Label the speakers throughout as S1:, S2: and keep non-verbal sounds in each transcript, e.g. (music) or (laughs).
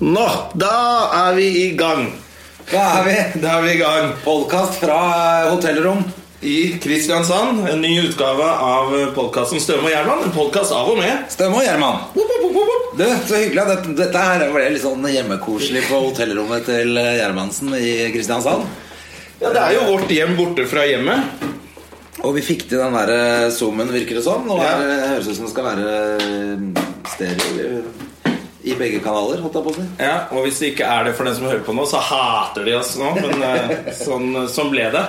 S1: Nå, da er vi i gang.
S2: Da er vi
S1: (laughs) Da er vi i gang
S2: podkast fra eh, hotellrom.
S1: i Kristiansand. En ny utgave av podkasten Støme og Gjerman. En podkast av og med.
S2: Støm og Gjerman. Du, så hyggelig. at Dette, dette her ble litt sånn hjemmekoselig på hotellrommet til eh, Gjermansen i Kristiansand.
S1: Ja, Det er jo vårt hjem borte fra hjemmet.
S2: Og vi fikk til den der eh, zoomen, virker det som. Nå
S1: Ja.
S2: er, det- høres det ut som det skal være eh, stereo eh, i begge kanaler, holdt jeg på å si.
S1: Ja, Og hvis det ikke er det for den som hører på nå, så hater de oss nå. Men eh, (laughs) sånn, sånn ble det.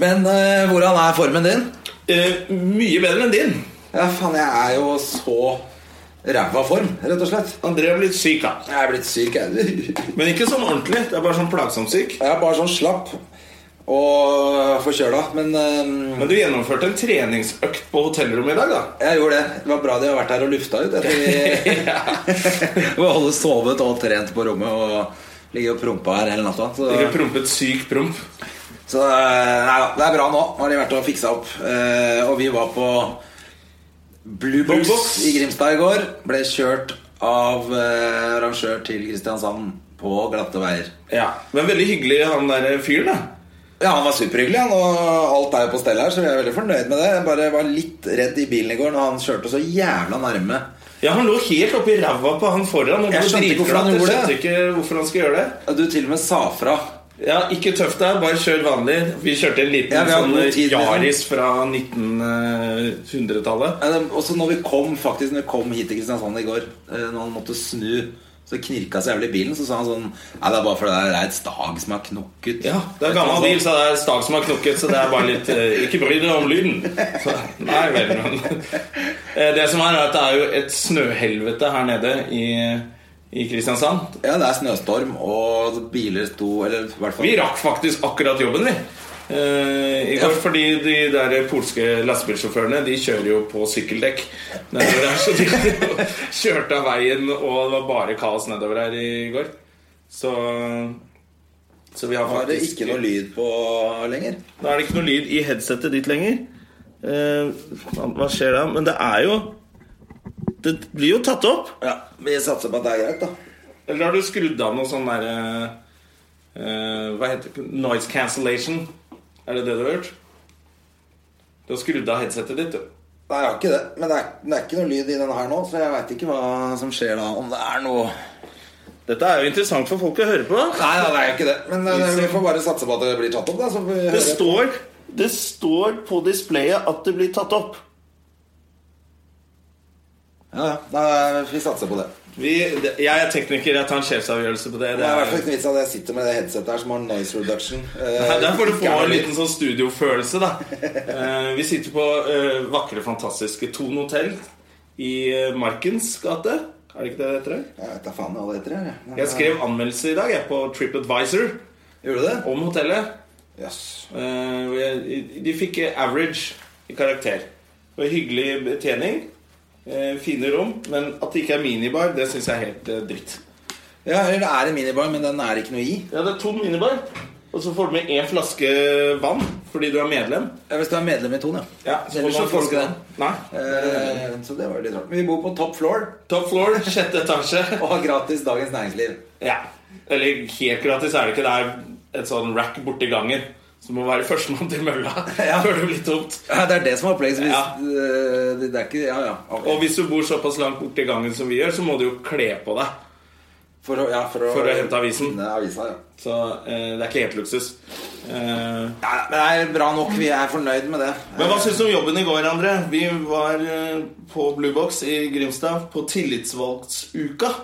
S2: Men eh, hvordan er formen din?
S1: Eh, mye bedre enn din.
S2: Ja, faen, jeg er jo så ræva form, rett og slett.
S1: André har blitt syk, da.
S2: Jeg er blitt syk, jeg. (laughs)
S1: Men ikke sånn ordentlig. Det er bare sånn plagsomt syk.
S2: Jeg er bare sånn slapp og forkjøla. Men eh,
S1: Men du gjennomførte en treningsøkt på hotellrommet i dag, da.
S2: Jeg gjorde det. Det var bra de har vært her og lufta ut. Etter vi (laughs) vi har alle sovet og trent på rommet og ligger og prompa her hele natta. Så,
S1: Ikke prompet syk promp.
S2: så eh, nei da, det er bra nå. Nå har de vært og fiksa opp. Eh, og vi var på Blue Box,
S1: Blue Box.
S2: i Grimstad i går. Ble kjørt av eh, arrangør til Kristiansand på glatte veier.
S1: Ja, Men veldig hyggelig han der fyren, da.
S2: Ja, Han var superhyggelig, han, og alt er jo på stell her, så vi er veldig fornøyd med det. Jeg bare var litt redd i bilen i går når han kjørte så jævla nærme.
S1: Ja, Han lå helt oppi ræva på han foran. Og
S2: Jeg
S1: ble
S2: skjønte ikke hvorfor han
S1: dritflat.
S2: gjorde
S1: Jeg skjønte ikke hvorfor han skulle gjøre det.
S2: Og Du til og med sa fra.
S1: Ja, Ikke tøft deg, bare kjør vanlig. Vi kjørte en liten
S2: Ja, vi har
S1: sånn
S2: god tid, liksom.
S1: Yaris fra 1900-tallet.
S2: Men, eh, Også når vi kom faktisk Når vi kom hit til Kristiansand i går, eh, når han måtte snu så knirka så jævlig i bilen, så sa han sånn Nei, det er bare fordi det er et stag som er knokket.
S1: Ja, Det er altså- gammel bil, så det er stag som har knokket, så det er bare litt eh, Ikke bry deg om lyden. Så, nei vel, men Eh, Det som er, er at det er jo et snøhelvete her nede i, i Kristiansand.
S2: Ja, det er snøstorm, og biler sto Eller i hvert fall
S1: Vi rakk faktisk akkurat jobben, vi. Eh, I går,
S2: Ja.
S1: Fordi de der polske lastebilsjåførene De kjører jo på sykkeldekk. Nedover her, så de (laughs) kjørte av veien, og det var bare kaos nedover her i går. Så, så vi har
S2: var det
S1: faktisk
S2: ikke noe lyd på lenger.
S1: Nå er det ikke noe lyd i headsetet ditt lenger. Eh, faen, hva skjer da? Men det er jo Det blir jo tatt opp.
S2: Ja, Vi satser på at det er greit, da.
S1: Eller har du skrudd av noe sånn derre Hva heter det? Noise cancellation? Er det det du har gjort? Du har skrudd av headsetet ditt, du.
S2: Nei, jeg har ikke det. Men det er, det er ikke noe lyd i denne her nå, så jeg veit ikke hva som skjer da. Om det er noe
S1: Dette er jo interessant for folk å høre på.
S2: Nei, da, det er jo ikke det. Men eh, vi får bare satse på at det blir tatt opp, da. Så får vi
S1: Det
S2: høre.
S1: står, det står på displayet at det blir tatt opp.
S2: Ja, ja. Nei, vi satser på det.
S1: Vi, det- jeg er tekniker, jeg tar en sjefsavgjørelse på det.
S2: Det er i hvert fall ikke noe vits at jeg sitter med det headsetet her som har noise (laughs) reduction. Eh,
S1: Nei, Der får du få
S2: ikke er
S1: en
S2: det
S1: liten sånn studiofølelse, da. Eh, vi sitter på eh, vakre, fantastiske Thon hotell i eh, Markens gate. Er det ikke det det heter? det?
S2: Jeg vet da faen hva det heter. jeg. Men,
S1: Jeg skrev anmeldelse i dag jeg, på TripAdvisor
S2: eh, Gjorde du det?
S1: om hotellet.
S2: Jøss.
S1: Eh, hvor jeg- De fikk eh, average i karakter. Det var hyggelig betjening, eh, fine rom, men at det ikke er minibar, det syns jeg er helt eh, dritt.
S2: Ja, eller det er en minibar, men den er ikke noe i.
S1: Ja, det er tom minibar, og så får du med én flaske vann fordi du er medlem.
S2: Ja, Hvis du er medlem i Ton, ja.
S1: Ja, så får
S2: Ellers så
S1: man
S2: får du
S1: flaske
S2: ikke
S1: vann.
S2: det.
S1: Nei.
S2: Eh, så det var jo litt rart. Vi bor på top floor
S1: Top floor, sjette etasje.
S2: og har gratis Dagens Næringsliv.
S1: (laughs) Ja, Eller helt gratis er det ikke. Det er et sånn rack borti gangen. Så du må være førstemann til (laughs) mølla
S2: Ja.
S1: før det blir tomt.
S2: Ja, det er det som er opplegget. så Hvis,
S1: Ja.
S2: eh, det, det er ikke Ja, ja. ok.
S1: Og hvis du bor såpass langt borti gangen som vi gjør, så må du jo kle på deg.
S2: For, å- ja, for, å,
S1: For å hente avisen.
S2: finne avisa, ja.
S1: Så eh, det er ikke helt luksus. Eh,
S2: ja. Men det er bra nok. Vi er fornøyd med det.
S1: men hva syns du om jobben i går, André? Vi var eh, på Blue Box i Grimstad på tillitsvalgtsuka.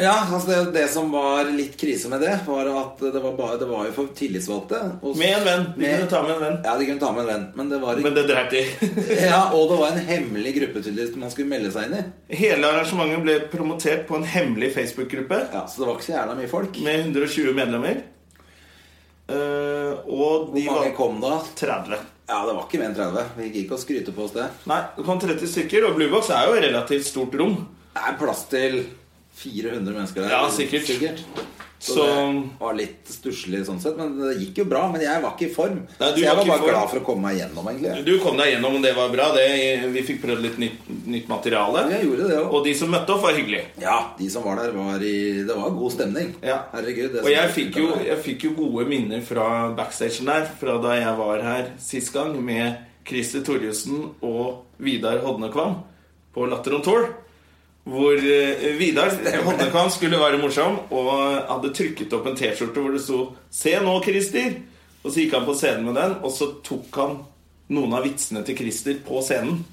S2: Ja, altså det, det som var litt krise med det, var at det var, bare, det var jo for tillitsvalgte. og-
S1: Med en venn. Vi
S2: Med-
S1: kunne ta med en venn.
S2: Ja, de kunne ta med en venn. Men det var
S1: Men det dreit de i.
S2: (laughs)
S1: (laughs)
S2: ja, Og det var en hemmelig gruppe tydeligvis man skulle melde seg inn i.
S1: Hele arrangementet ble promotert på en hemmelig Facebook-gruppe.
S2: Ja, Så det var ikke så jævla mye folk.
S1: med 120 medlemmer. Eh, og de
S2: Hvor mange
S1: var
S2: kom da?
S1: 30.
S2: Ja, det var ikke mer enn 30. Vi gikk ikke å skryte på oss det.
S1: Nei, det kom 30 stykker, og Blue Box er jo et relativt stort rom.
S2: Det er plass til 400 mennesker der.
S1: Ja, sikkert.
S2: Så,
S1: Så-
S2: det var litt stusslig sånn sett. Men det gikk jo bra. Men jeg var ikke i form.
S1: Nei, du
S2: så jeg
S1: var
S2: var
S1: ikke i
S2: bare
S1: form.
S2: glad for å komme meg gjennom, egentlig.
S1: Du kom deg gjennom, og det var bra. Det, vi fikk prøvd litt nytt, nytt materiale.
S2: Jeg gjorde det òg.
S1: Og de som møtte opp, var hyggelige.
S2: Ja, de som var der, var i Det var god stemning.
S1: Ja.
S2: Herregud.
S1: Og jeg fikk, jo, jeg fikk jo gode minner fra backstagen der, fra da jeg var her sist gang med Christer Torjussen og Vidar Hodnekvam på Latter on Tour. Hvor eh, Vidar Hodnekvam skulle være morsom og hadde trykket opp en T-skjorte hvor det sto 'Se nå, Christer'. Og så gikk han på scenen med den, og så tok han noen av vitsene til Christer på scenen.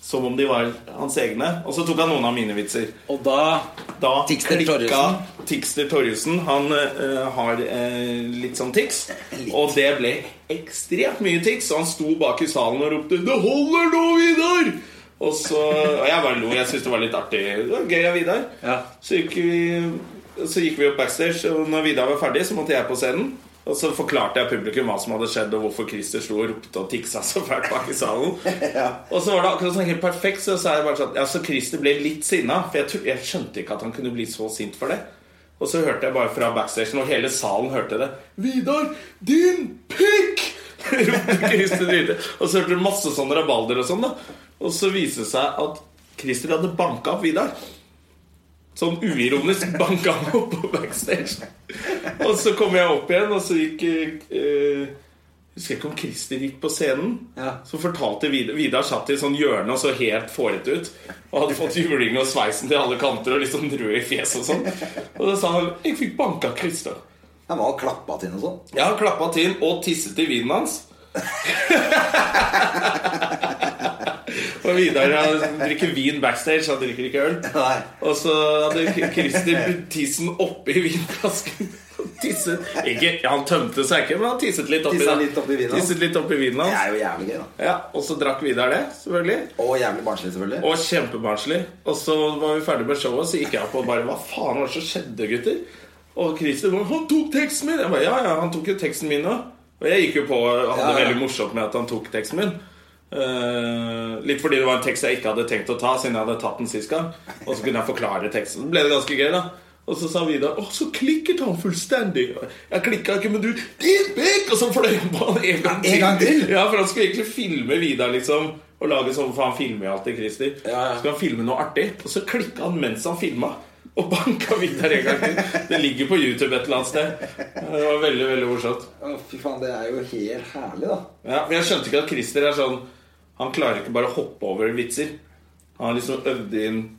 S1: Som om de var hans egne. Og så tok han noen av mine vitser.
S2: Og da
S1: Da
S2: Tixter
S1: klikka
S2: Torjussen.
S1: Tixter Torjussen. Han eh, har eh, litt sånn tics.
S2: (laughs) Litt.
S1: Og det ble ekstremt mye tics. Og han sto bak i salen og ropte 'Det holder nå, Vidar!' Og så, og jeg bare lo. Jeg syntes det var litt artig. Det var gøy av Vidar.
S2: Ja.
S1: Så, gikk vi, så gikk vi opp backstage, og når Vidar var ferdig, så måtte jeg på scenen. Og så forklarte jeg publikum hva som hadde skjedd, og hvorfor Christer slo og ropte og tiksa så fælt bak i salen. Og så var det akkurat sånn helt perfekt, så sa jeg bare sånn Ja, så Christer ble litt sinna, for jeg, tro- jeg skjønte ikke at han kunne bli så sint for det. Og så hørte jeg bare fra backstagen, og hele salen hørte det. 'Vidar, din pikk!' (laughs) ropte Christer Dyhre. Og så hørte du masse sånn rabalder og sånn, da. Og så viste det seg at Christer hadde banka opp Vidar. Sånn uironisk (laughs) banka han opp på backstage. Og så kom jeg opp igjen, og så gikk eh, Husker jeg ikke om Christer gikk på scenen.
S2: Ja.
S1: Så fortalte Vidar Vidar satt i et sånn hjørne og så helt fåret ut. Og hadde fått juling og sveisen til alle kanter og litt sånn rød i fjeset og sånn. Og da sa han 'Jeg fikk banka Christer'.
S2: Han var klappa til noe sånt.
S1: Jeg har klappa til og tisset i vinen
S2: (laughs)
S1: hans. og Vidar han drikker vin backstage, han drikker ikke øl.
S2: Nei.
S1: Og så hadde Christer putt tissen oppi vinflasken. og Tisset. Ikke, han tømte seg ikke, men han tisset litt oppi
S2: Tisset
S1: den.
S2: litt oppi vinen hans.
S1: Tisset litt oppi vinen
S2: Det
S1: hans.
S2: er jo jævlig gøy, da.
S1: Ja, og så drakk Vidar det, selvfølgelig.
S2: Og jævlig barnslig, selvfølgelig.
S1: Og kjempebarnslig. Og så var vi ferdig med showet, så gikk jeg opp og bare Hva faen var det som skjedde, gutter? Og Christer bare 'Han tok teksten min!' Jeg bare, ja, ja, han tok jo teksten min òg. Og jeg gikk jo på og hadde
S2: Ja,
S1: det
S2: ja.
S1: veldig morsomt med at han tok teksten min. Eh, litt fordi det var en tekst jeg ikke hadde tenkt å ta, siden jeg hadde tatt den sist gang. Og så kunne jeg forklare teksten. Så ble det ganske gøy, da. Og så sa Vidar 'Å, så klikket han fullstendig'. Jeg klikka ikke, men du Din pikk! Og så fløy han på han en gang til.
S2: En gang til?
S1: Ja, for han skulle egentlig filme Vidar, liksom. Og lage sånn, for han filmer jo alltid Christer.
S2: Ja, ja.
S1: Så skulle han filme noe artig, og så klikka han mens han filma. Og banka Vidar en gang til. Det ligger på YouTube et eller annet sted. Det var veldig, veldig morsomt.
S2: Å, fy faen, det er jo helt herlig, da.
S1: Ja, men jeg skjønte ikke at Christer er sånn Han klarer ikke bare å hoppe over vitser. Han har liksom øvd inn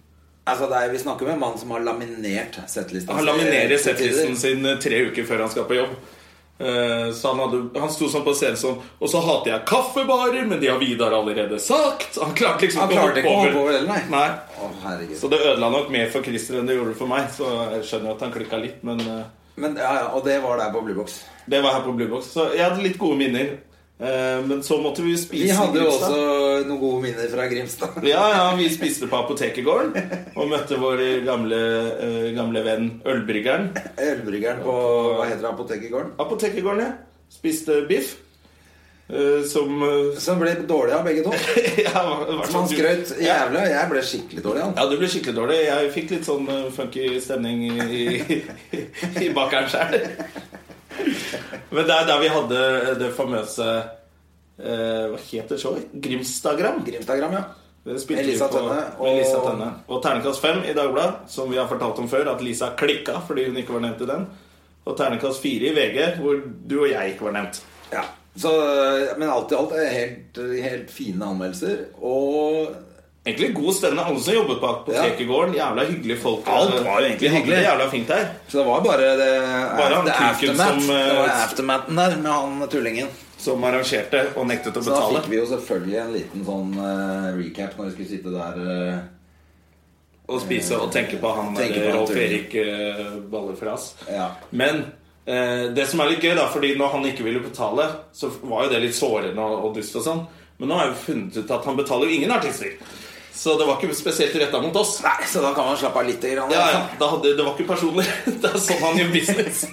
S2: Altså, det er, Vi snakker med en mann som har laminert settlista.
S1: Han laminerer settlisten sin eh, tre uker før han skal på jobb. Eh, Så han, hadde, han sto sånn på scenen sånn Og så hater jeg kaffebarer, men de har Vidar allerede sagt. Han klarte liksom
S2: Han klarte ikke å hoppe over heller, nei.
S1: Nei.
S2: Å, herregud.
S1: Så det ødela nok mer for Christer enn det gjorde for meg. Så jeg skjønner at han klikka litt, men eh,
S2: Men, ja, ja, og det var der på Bluebox.
S1: det var her på Blue Box. Så jeg hadde litt gode minner. Eh, Men så måtte vi spise
S2: Vi hadde jo
S1: Grimstad.
S2: også noen gode minner fra Grimstad.
S1: Ja, ja, vi spiste på apotekergården og møtte vår gamle, eh, gamle venn ølbryggeren.
S2: (laughs) Ølbryggeren på hva heter det, apoteket i gården.
S1: Apotekergården, ja. Spiste biff. eh, Som eh, (laughs)
S2: Som ble dårlig av begge to.
S1: ja, i hvert fall
S2: Han
S1: du-
S2: skrøt jævlig, og jeg ble skikkelig dårlig. han
S1: Ja, du ble skikkelig dårlig. Jeg fikk litt sånn eh, funky stemning i, i, i bakeren sjøl. Men det er der vi hadde det famøse eh, Hva heter showet? Grimstagram.
S2: Grimstagram, ja.
S1: Det spilte
S2: Med
S1: vi
S2: Lisa
S1: på-
S2: Tønne
S1: Med Lisa
S2: og-
S1: Tønne. Og terningkast 5 i Dagbladet, som vi har fortalt om før, at Lisa klikka fordi hun ikke var nevnt i den. Og terningkast 4 i VG, hvor du og jeg ikke var nevnt.
S2: ja. Så, men alt i alt er helt, eh, helt fine anmeldelser. Og
S1: Egentlig god stemning. Alle som jobbet på apotekergården, jævla hyggelige folk.
S2: Alt var jo egentlig
S1: Vi hadde det
S2: hyggelig.
S1: Jævla fint der.
S2: Så det var bare det,
S1: Bare han
S2: det
S1: kuken
S2: aftermath.
S1: som, eh,
S2: det var aftermathen der med han tullingen.
S1: Som arrangerte og nektet å
S2: Så da
S1: betale.
S2: fikk vi jo selvfølgelig en liten sånn eh, recap når vi skulle sitte der. eh,
S1: og spise og tenke på han
S2: Tenke
S1: der
S2: på han,
S1: Rolf
S2: tror jeg.
S1: Erik eh, Ballefras.
S2: Ja.
S1: Men eh, det som er litt gøy, da, fordi når han ikke ville betale, så var jo det litt sårende og, og dust og sånn. Men nå har jeg jo funnet ut at han betaler jo ingen artister. Så det var ikke spesielt retta mot oss.
S2: Nei, så da kan man slappe av litt. Grann, liksom.
S1: Ja, ja, da hadde, det var ikke personlig. (laughs) Det er sånn han gjør (laughs) business.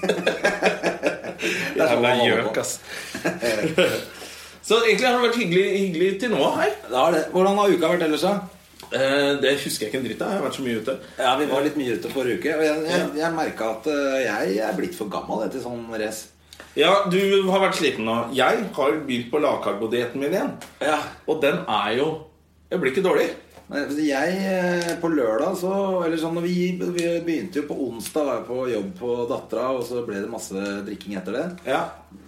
S2: sånn
S1: Jævla
S2: han holder på.
S1: gjøk, (laughs) ass. Så egentlig har det vært hyggelig, hyggelig til nå her.
S2: Da er det. Hvordan har uka vært ellers, da?
S1: Eh, Det husker jeg ikke en dritt av. Jeg har vært så mye ute.
S2: Ja, Vi var litt mye ute forrige uke, og jeg, jeg, jeg merka at eh, jeg er blitt for gammel jeg, til sånn race.
S1: Ja, du har vært sliten nå. Jeg har begynt på lavkarbodietten min igjen.
S2: Ja.
S1: Og den er jo Jeg blir ikke dårlig.
S2: Men Jeg, eh, på lørdag så Eller sånn, når vi, vi begynte jo på onsdag, var jeg på jobb på dattera, og så ble det masse drikking etter det.
S1: Ja.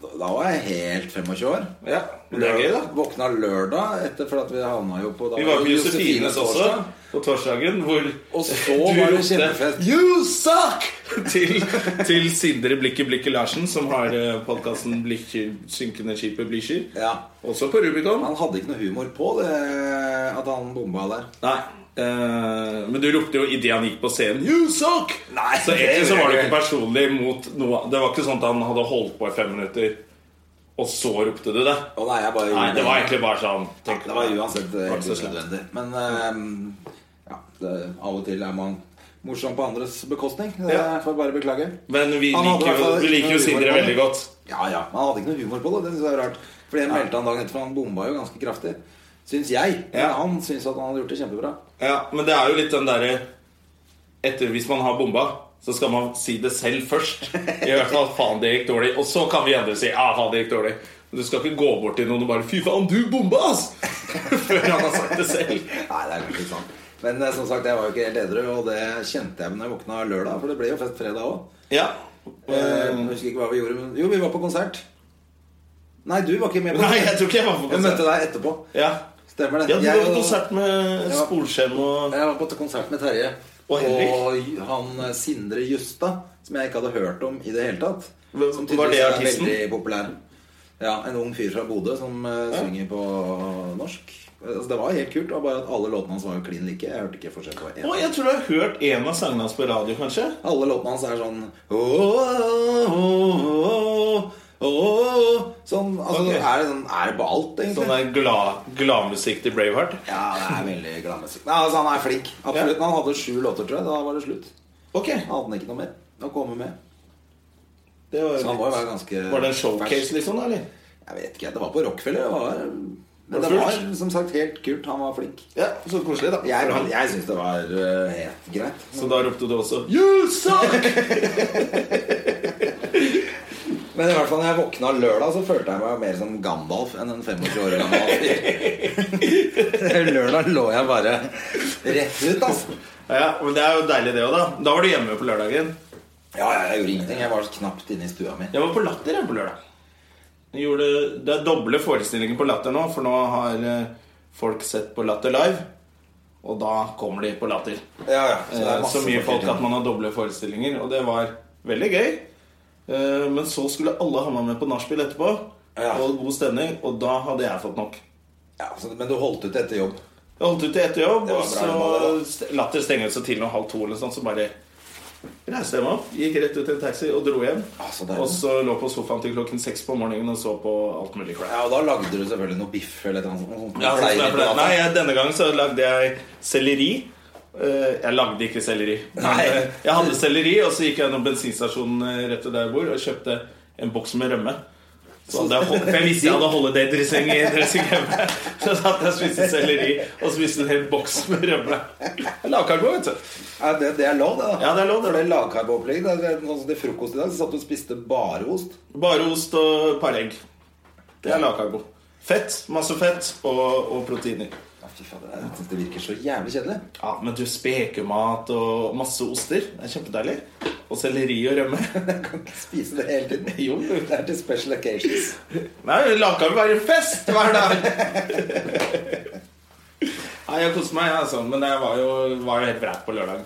S2: Da da var jeg helt 25 år.
S1: ja. Men det er gøy, da.
S2: Våkna lørdag etter for at vi havna jo på da
S1: Vi var
S2: var
S1: på
S2: det
S1: Josefines også,
S2: torsdag.
S1: på torsdagen, hvor
S2: Og så
S1: du
S2: var det
S1: ropte,
S2: kjempefest.
S1: You suck! Til, til Sindre Blikket Blikket Larsen, som har podkasten 'Synkende skipet Blysky'.
S2: Ja.
S1: Også på Rubicon.
S2: Han hadde ikke noe humor på det at han bomba der.
S1: Nei. eh, men du ropte jo idet han gikk på scenen 'You suck!'
S2: Nei,
S1: så
S2: det
S1: egentlig så
S2: gjorde
S1: var det
S2: jeg
S1: ikke personlig mot noe. Det var ikke sånn at han hadde holdt på i fem minutter, og så ropte du det.
S2: Og nei, jeg bare
S1: Nei, det var egentlig bare sånn. tenk-
S2: det var uansett eh,
S1: Var det så
S2: helt
S1: slemt?
S2: unødvendig. Men eh, ja, det, av og til er man morsom på andres bekostning. Det
S1: Ja.
S2: får jeg bare beklage.
S1: Men vi
S2: Han hadde i
S1: liker
S2: hvert
S1: jo,
S2: fall
S1: vi
S2: ikke
S1: liker jo
S2: noe humor
S1: Sindre
S2: på det.
S1: veldig godt.
S2: Ja, ja, men Han hadde ikke noe humor på det. Det synes jeg er rart For det meldte han dagen etter, for han bomba jo ganske kraftig. Syns jeg. Men
S1: Ja.
S2: han syns at han hadde gjort det kjempebra.
S1: Ja, men det er jo litt den derre Etter hvis man har bomba, så skal man si det selv først. I hvert fall 'faen, det gikk dårlig'. Og så kan vi andre si 'ja, faen, det gikk dårlig'. Men du skal ikke gå bort til noen og bare 'fy faen, du bomba', ass! (laughs) Før han har sagt det selv.
S2: Nei, det er kanskje ikke sant. Men eh, som sagt, jeg var jo ikke helt edru, og det kjente jeg når jeg våkna lørdag. For det ble jo fest fredag òg.
S1: Ja.
S2: Jeg
S1: Mm.
S2: husker ikke hva vi gjorde, men jo, vi var på konsert. Nei, du var ikke med på
S1: Nei, jeg tror ikke jeg var på
S2: Jeg møtte
S1: konsert.
S2: deg etterpå.
S1: Ja,
S2: Stemmer det.
S1: ja du
S2: Jeg
S1: var på
S2: og-
S1: konsert med
S2: Ja.
S1: Spolskjem og
S2: Jeg var på konsert med Terje.
S1: Og Henrik.
S2: og han eh, Sindre Justad, som jeg ikke hadde hørt om i det hele tatt.
S1: Hvem-
S2: Som
S1: var det
S2: tydeligvis er
S1: artisten?
S2: Veldig populær. Ja, En ung fyr fra Bodø som eh, synger på norsk. Altså, det var helt kult. Det var bare at alle låtene hans var jo klin like. Jeg hørte ikke forskjell på
S1: Å,
S2: én.
S1: jeg tror jeg har hørt en av sangene hans på radio, kanskje.
S2: Alle låtene hans er sånn «Åh, åh, åh, åh». Sånn, altså,
S1: Ok.
S2: er, det, sånn, er det på alt, egentlig?
S1: Sånn der glad- gladmusikk til Braveheart.
S2: Ja, det er veldig gladmusikk. Nei, altså, han er flink. Absolutt.
S1: Ja.
S2: Men Han hadde sju låter, tror jeg. Da var det slutt.
S1: Ok,
S2: Han hadde ikke noe mer å komme med.
S1: det var,
S2: Så han må jo
S1: litt...
S2: være ganske
S1: var det en showcase,
S2: fersk.
S1: liksom? da, eller?
S2: Jeg vet ikke. Det var på Rockefeller. Det var, men
S1: det
S2: det var
S1: fullt?
S2: som sagt helt kult. Han var flink.
S1: Ja, Så koselig, da.
S2: Jeg, jeg syns det var eh, helt greit.
S1: Så da ropte du også 'You suck!'
S2: Men i hvert fall når jeg våkna lørdag, så følte jeg meg mer som Gandalf enn en 25 år gammel fyr.
S1: (laughs)
S2: lørdag lå jeg bare rett ut, altså.
S1: Ja, men Det er jo deilig, det òg, da. Da var du hjemme på lørdagen.
S2: Ja, ja, jeg gjorde ingenting. Jeg var knapt inne i stua mi.
S1: Jeg var på Latter jeg, på lørdag. Jeg gjorde, det er doble forestillinger på Latter nå, for nå har eh, folk sett på Latter live. Og da kommer de på Latter.
S2: Ja, ja,
S1: Eh, Så, det er så mye folk at man har doble forestillinger, og det var veldig gøy. Eh, Men så skulle alle ha meg med på nachspiel etterpå,
S2: Ja.
S1: og god stemning, og da hadde jeg fått nok.
S2: ja, så, Men du holdt ut etter jobb?
S1: Jeg holdt ut til etter jobb,
S2: Det var
S1: og
S2: bra jobba, det da.
S1: så st- latter stengte seg til noen halv to, eller sånn, så bare reiste jeg meg opp, gikk rett ut i en taxi og dro hjem.
S2: Ah, så deilig.
S1: og så lå på sofaen til klokken seks på morgenen og så på alt mulig crap.
S2: Ja, og da lagde du selvfølgelig noe biff eller noe sånt. Noe
S1: Ja, sånn som jeg
S2: pleier
S1: pleier.
S2: på
S1: Nei, jeg, denne gangen så lagde jeg selleri. Eh, Jeg lagde ikke selleri. Men,
S2: Nei.
S1: eh, Jeg hadde selleri, og så gikk jeg gjennom bensinstasjonen eh, rett ved der jeg bor, og kjøpte en boks med rømme. Så hadde jeg, hold- for jeg visste jeg hadde holiday-dressing i dressing hjemme. (laughs) Så satt jeg og spiste selleri og spiste en hel boks med rømme. Lavkarbo, vet du.
S2: Ja, det, det er lov, det. da
S1: Ja, det er lov, det er
S2: For det er lavkarboopplegg. da. Det er Sånn som til frokost i dag, så satt du og spiste bare ost.
S1: Bare ost og par egg. Det er lavkarbo. Fett, masse fett og, og proteiner.
S2: Ja, fy fader, jeg synes det virker så jævlig kjedelig. (laughs)
S1: Ja, men du, spekemat og masse oster. Det er kjempedeilig. Og selleri og rømme.
S2: Jeg kan ikke spise det hele tiden.
S1: Jo.
S2: Det er til special occasions.
S1: Nei, lavkarbo er en fest hver
S2: (laughs)
S1: dag! Nei, jeg koste meg, jeg, altså. Men jeg var jo, var jo helt vræt på lørdag.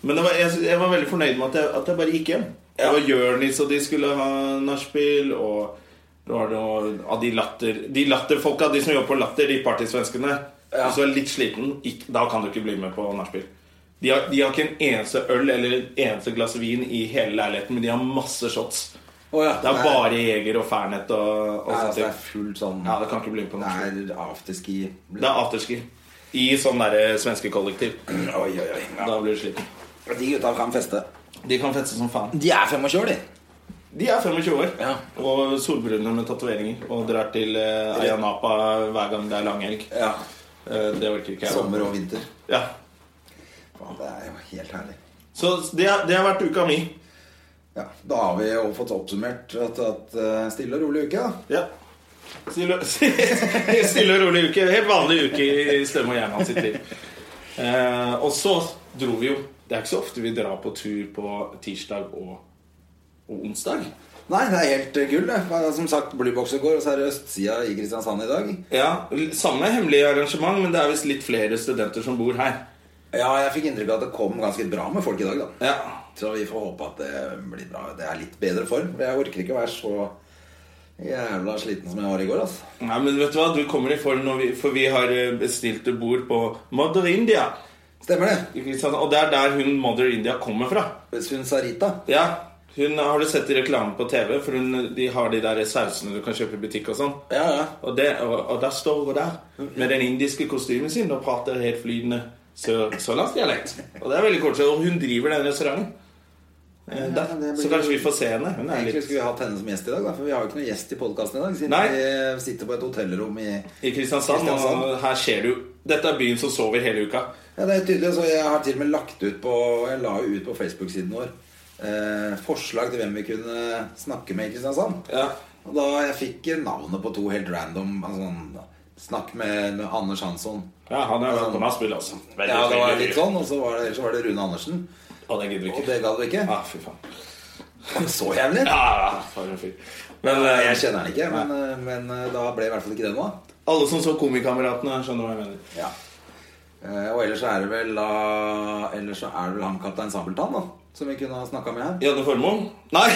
S1: Men det var, jeg, jeg var veldig fornøyd med at jeg, at jeg bare gikk hjem. Det var Jørnis, og de skulle ha nachspiel, og det var noe av de latter De latterfolka, de som jobber på Latter, de partysvenskene
S2: Ja.
S1: Hvis du er litt sliten, ikk, da kan du ikke bli med på nachspiel. De, har- de har ikke en eneste øl eller et eneste glass vin i hele leiligheten, men de har masse shots.
S2: Å ja.
S1: Det er bare Jeger og Fernet og, og
S2: Nei,
S1: sånt.
S2: altså, det er fullt sånn
S1: Ja, det kan ikke bli på norsk.
S2: Det er afterski.
S1: Det er afterski. I sånn derre svenske kollektiv.
S2: Oi, oi, oi. Ja.
S1: Da blir du sliten.
S2: De gutta kan feste.
S1: De kan feste som faen.
S2: De er 25 år, de.
S1: De er 25 år
S2: Ja.
S1: og solbrune med tatoveringer og drar til eh, Ayia Napa hver gang det er langhelg.
S2: Ja.
S1: Eh, Det orker ikke jeg.
S2: Sommer og vinter.
S1: Ja.
S2: Faen, det er jo helt herlig.
S1: Så det, det har vært uka mi.
S2: Ja, Da har vi jo fått oppsummert at, at eh, stille og rolig uke, da.
S1: Ja. Stille, (laughs) stille og rolig uke. Helt vanlig uke i Støm og Gjerman sitt liv. Eh, og så dro vi jo Det er ikke så ofte vi drar på tur på tirsdag og, og onsdag.
S2: Nei, det er helt eh, gull, det. Hva- Som sagt, Blyboksen går, og så er det østsida i Kristiansand i dag.
S1: Ja, Samme hemmelige arrangement, men det er visst litt flere studenter som bor her.
S2: Ja, jeg fikk inntrykk av at det kom ganske bra med folk i dag, da.
S1: Ja,
S2: Så vi får håpe at det blir bra. Det er litt bedre form. for Jeg orker ikke å være så jævla sliten som jeg var i går, altså.
S1: Nei, men vet du hva? Du kommer i form, når vi, for vi har eh, bestilt et bord på Mother India.
S2: Stemmer det.
S1: Ikke sant? Og det er der hun Mother India kommer fra.
S2: Hun Sarita.
S1: Ja, hun Har du sett i reklame på TV? For hun, de har de der sausene du kan kjøpe i butikk og sånn.
S2: Ja, ja.
S1: Og, det, og, og der står hun der med den indiske kostymen sin og prater helt flytende sør- sørlandsdialekt. Og det er veldig koselig. Og hun driver den restauranten. Eh,
S2: Ja,
S1: der.
S2: det blir-
S1: Så kanskje vi får se henne. Hun er
S2: Egentlig
S1: litt
S2: skulle vi hatt henne som gjest i dag, da, for vi har jo ikke noen gjest i podkasten i dag. Siden
S1: Nei.
S2: vi sitter på et hotellrom i Ja,
S1: i Kristiansand, og
S2: Kristiansand.
S1: her ser du Dette er byen som sover hele uka.
S2: det er tydelig, så jeg har til og med lagt ut på Jeg la jo ut på Facebook-siden vår eh, forslag til hvem vi kunne snakke med i Kristiansand.
S1: Ja.
S2: Og da jeg fikk navnet på to helt random altså, sånn, Snakk med, med Anders Hansson.
S1: ja han er velkommen til å spille også. Veldig,
S2: Ja, det var
S1: veldig
S2: litt sånn, og så var det, så var det Rune Andersen.
S1: Og det gidder vi
S2: Og
S1: ikke.
S2: det gadd vi ikke.
S1: Ah, fy faen.
S2: Så jævlig!
S1: Ja, ja, for en fyr. Men eh,
S2: Jeg kjenner han ikke, men, eh, men eh, da ble i hvert fall ikke det noe av.
S1: alle som så Komikameratene, skjønner hva jeg mener.
S2: Ja. Eh, Og ellers så er det vel da Ellers så er det vel han kaptein Sabeltann, da. Som vi kunne ha snakka med her.
S1: Janne Formoe? Nei!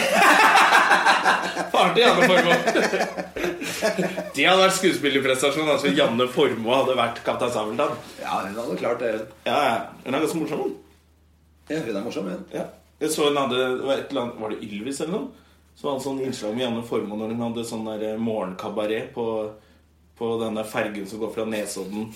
S1: (laughs) Faren til Janne
S2: (laughs)
S1: Formoe. Det hadde vært skuespillerprestasjon. Altså Janne Formoe hadde vært Kaptein Sabeltann.
S2: Ja, hun hadde klart det. hun.
S1: Ja, ja. Hun er ganske morsom. hun.
S2: Ja, hun er morsom, hun.
S1: Ja. Jeg så hun hadde, det var, et eller annet, var det Ylvis eller noe? Så hadde sånn innslag med Janne Formoe når hun hadde sånn der morgenkabaret på, på den der fergen som går fra Nesodden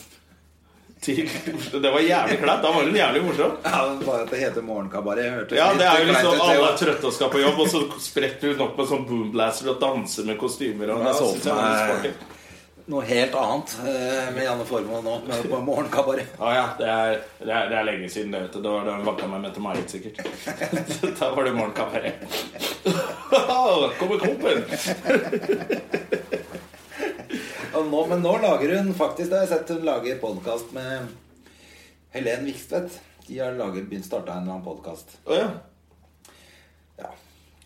S1: til Oslo. Det var jævlig kleint. Da var hun jævlig morsom.
S2: Ja, men Bare at det heter Morgenkabaret. hørtes
S1: Ja,
S2: litt
S1: det er jo
S2: kleint
S1: liksom
S2: ut,
S1: Alle
S2: jo.
S1: er trøtte og skal på jobb, og så spretter hun opp med sånn boomblaster og danser med kostymer. Og
S2: Jeg så
S1: synes
S2: for
S1: jeg var litt
S2: meg-
S1: sporty.
S2: Noe helt annet eh, med Janne Formoe nå, med- på Morgenkabaret.
S1: Ja, ja, det er, det, er, det er lenge siden. Det, vet du. det var da hun vakka meg Mette-Marit, sikkert. (laughs) da var det morgenkabaret. Kommer kompen!
S2: Og nå, men nå lager hun faktisk Det har jeg sett hun lager podkast med Helen Vikstvedt. De har laget, begynt starta en eller annen podkast.
S1: Å, ja.
S2: Ja.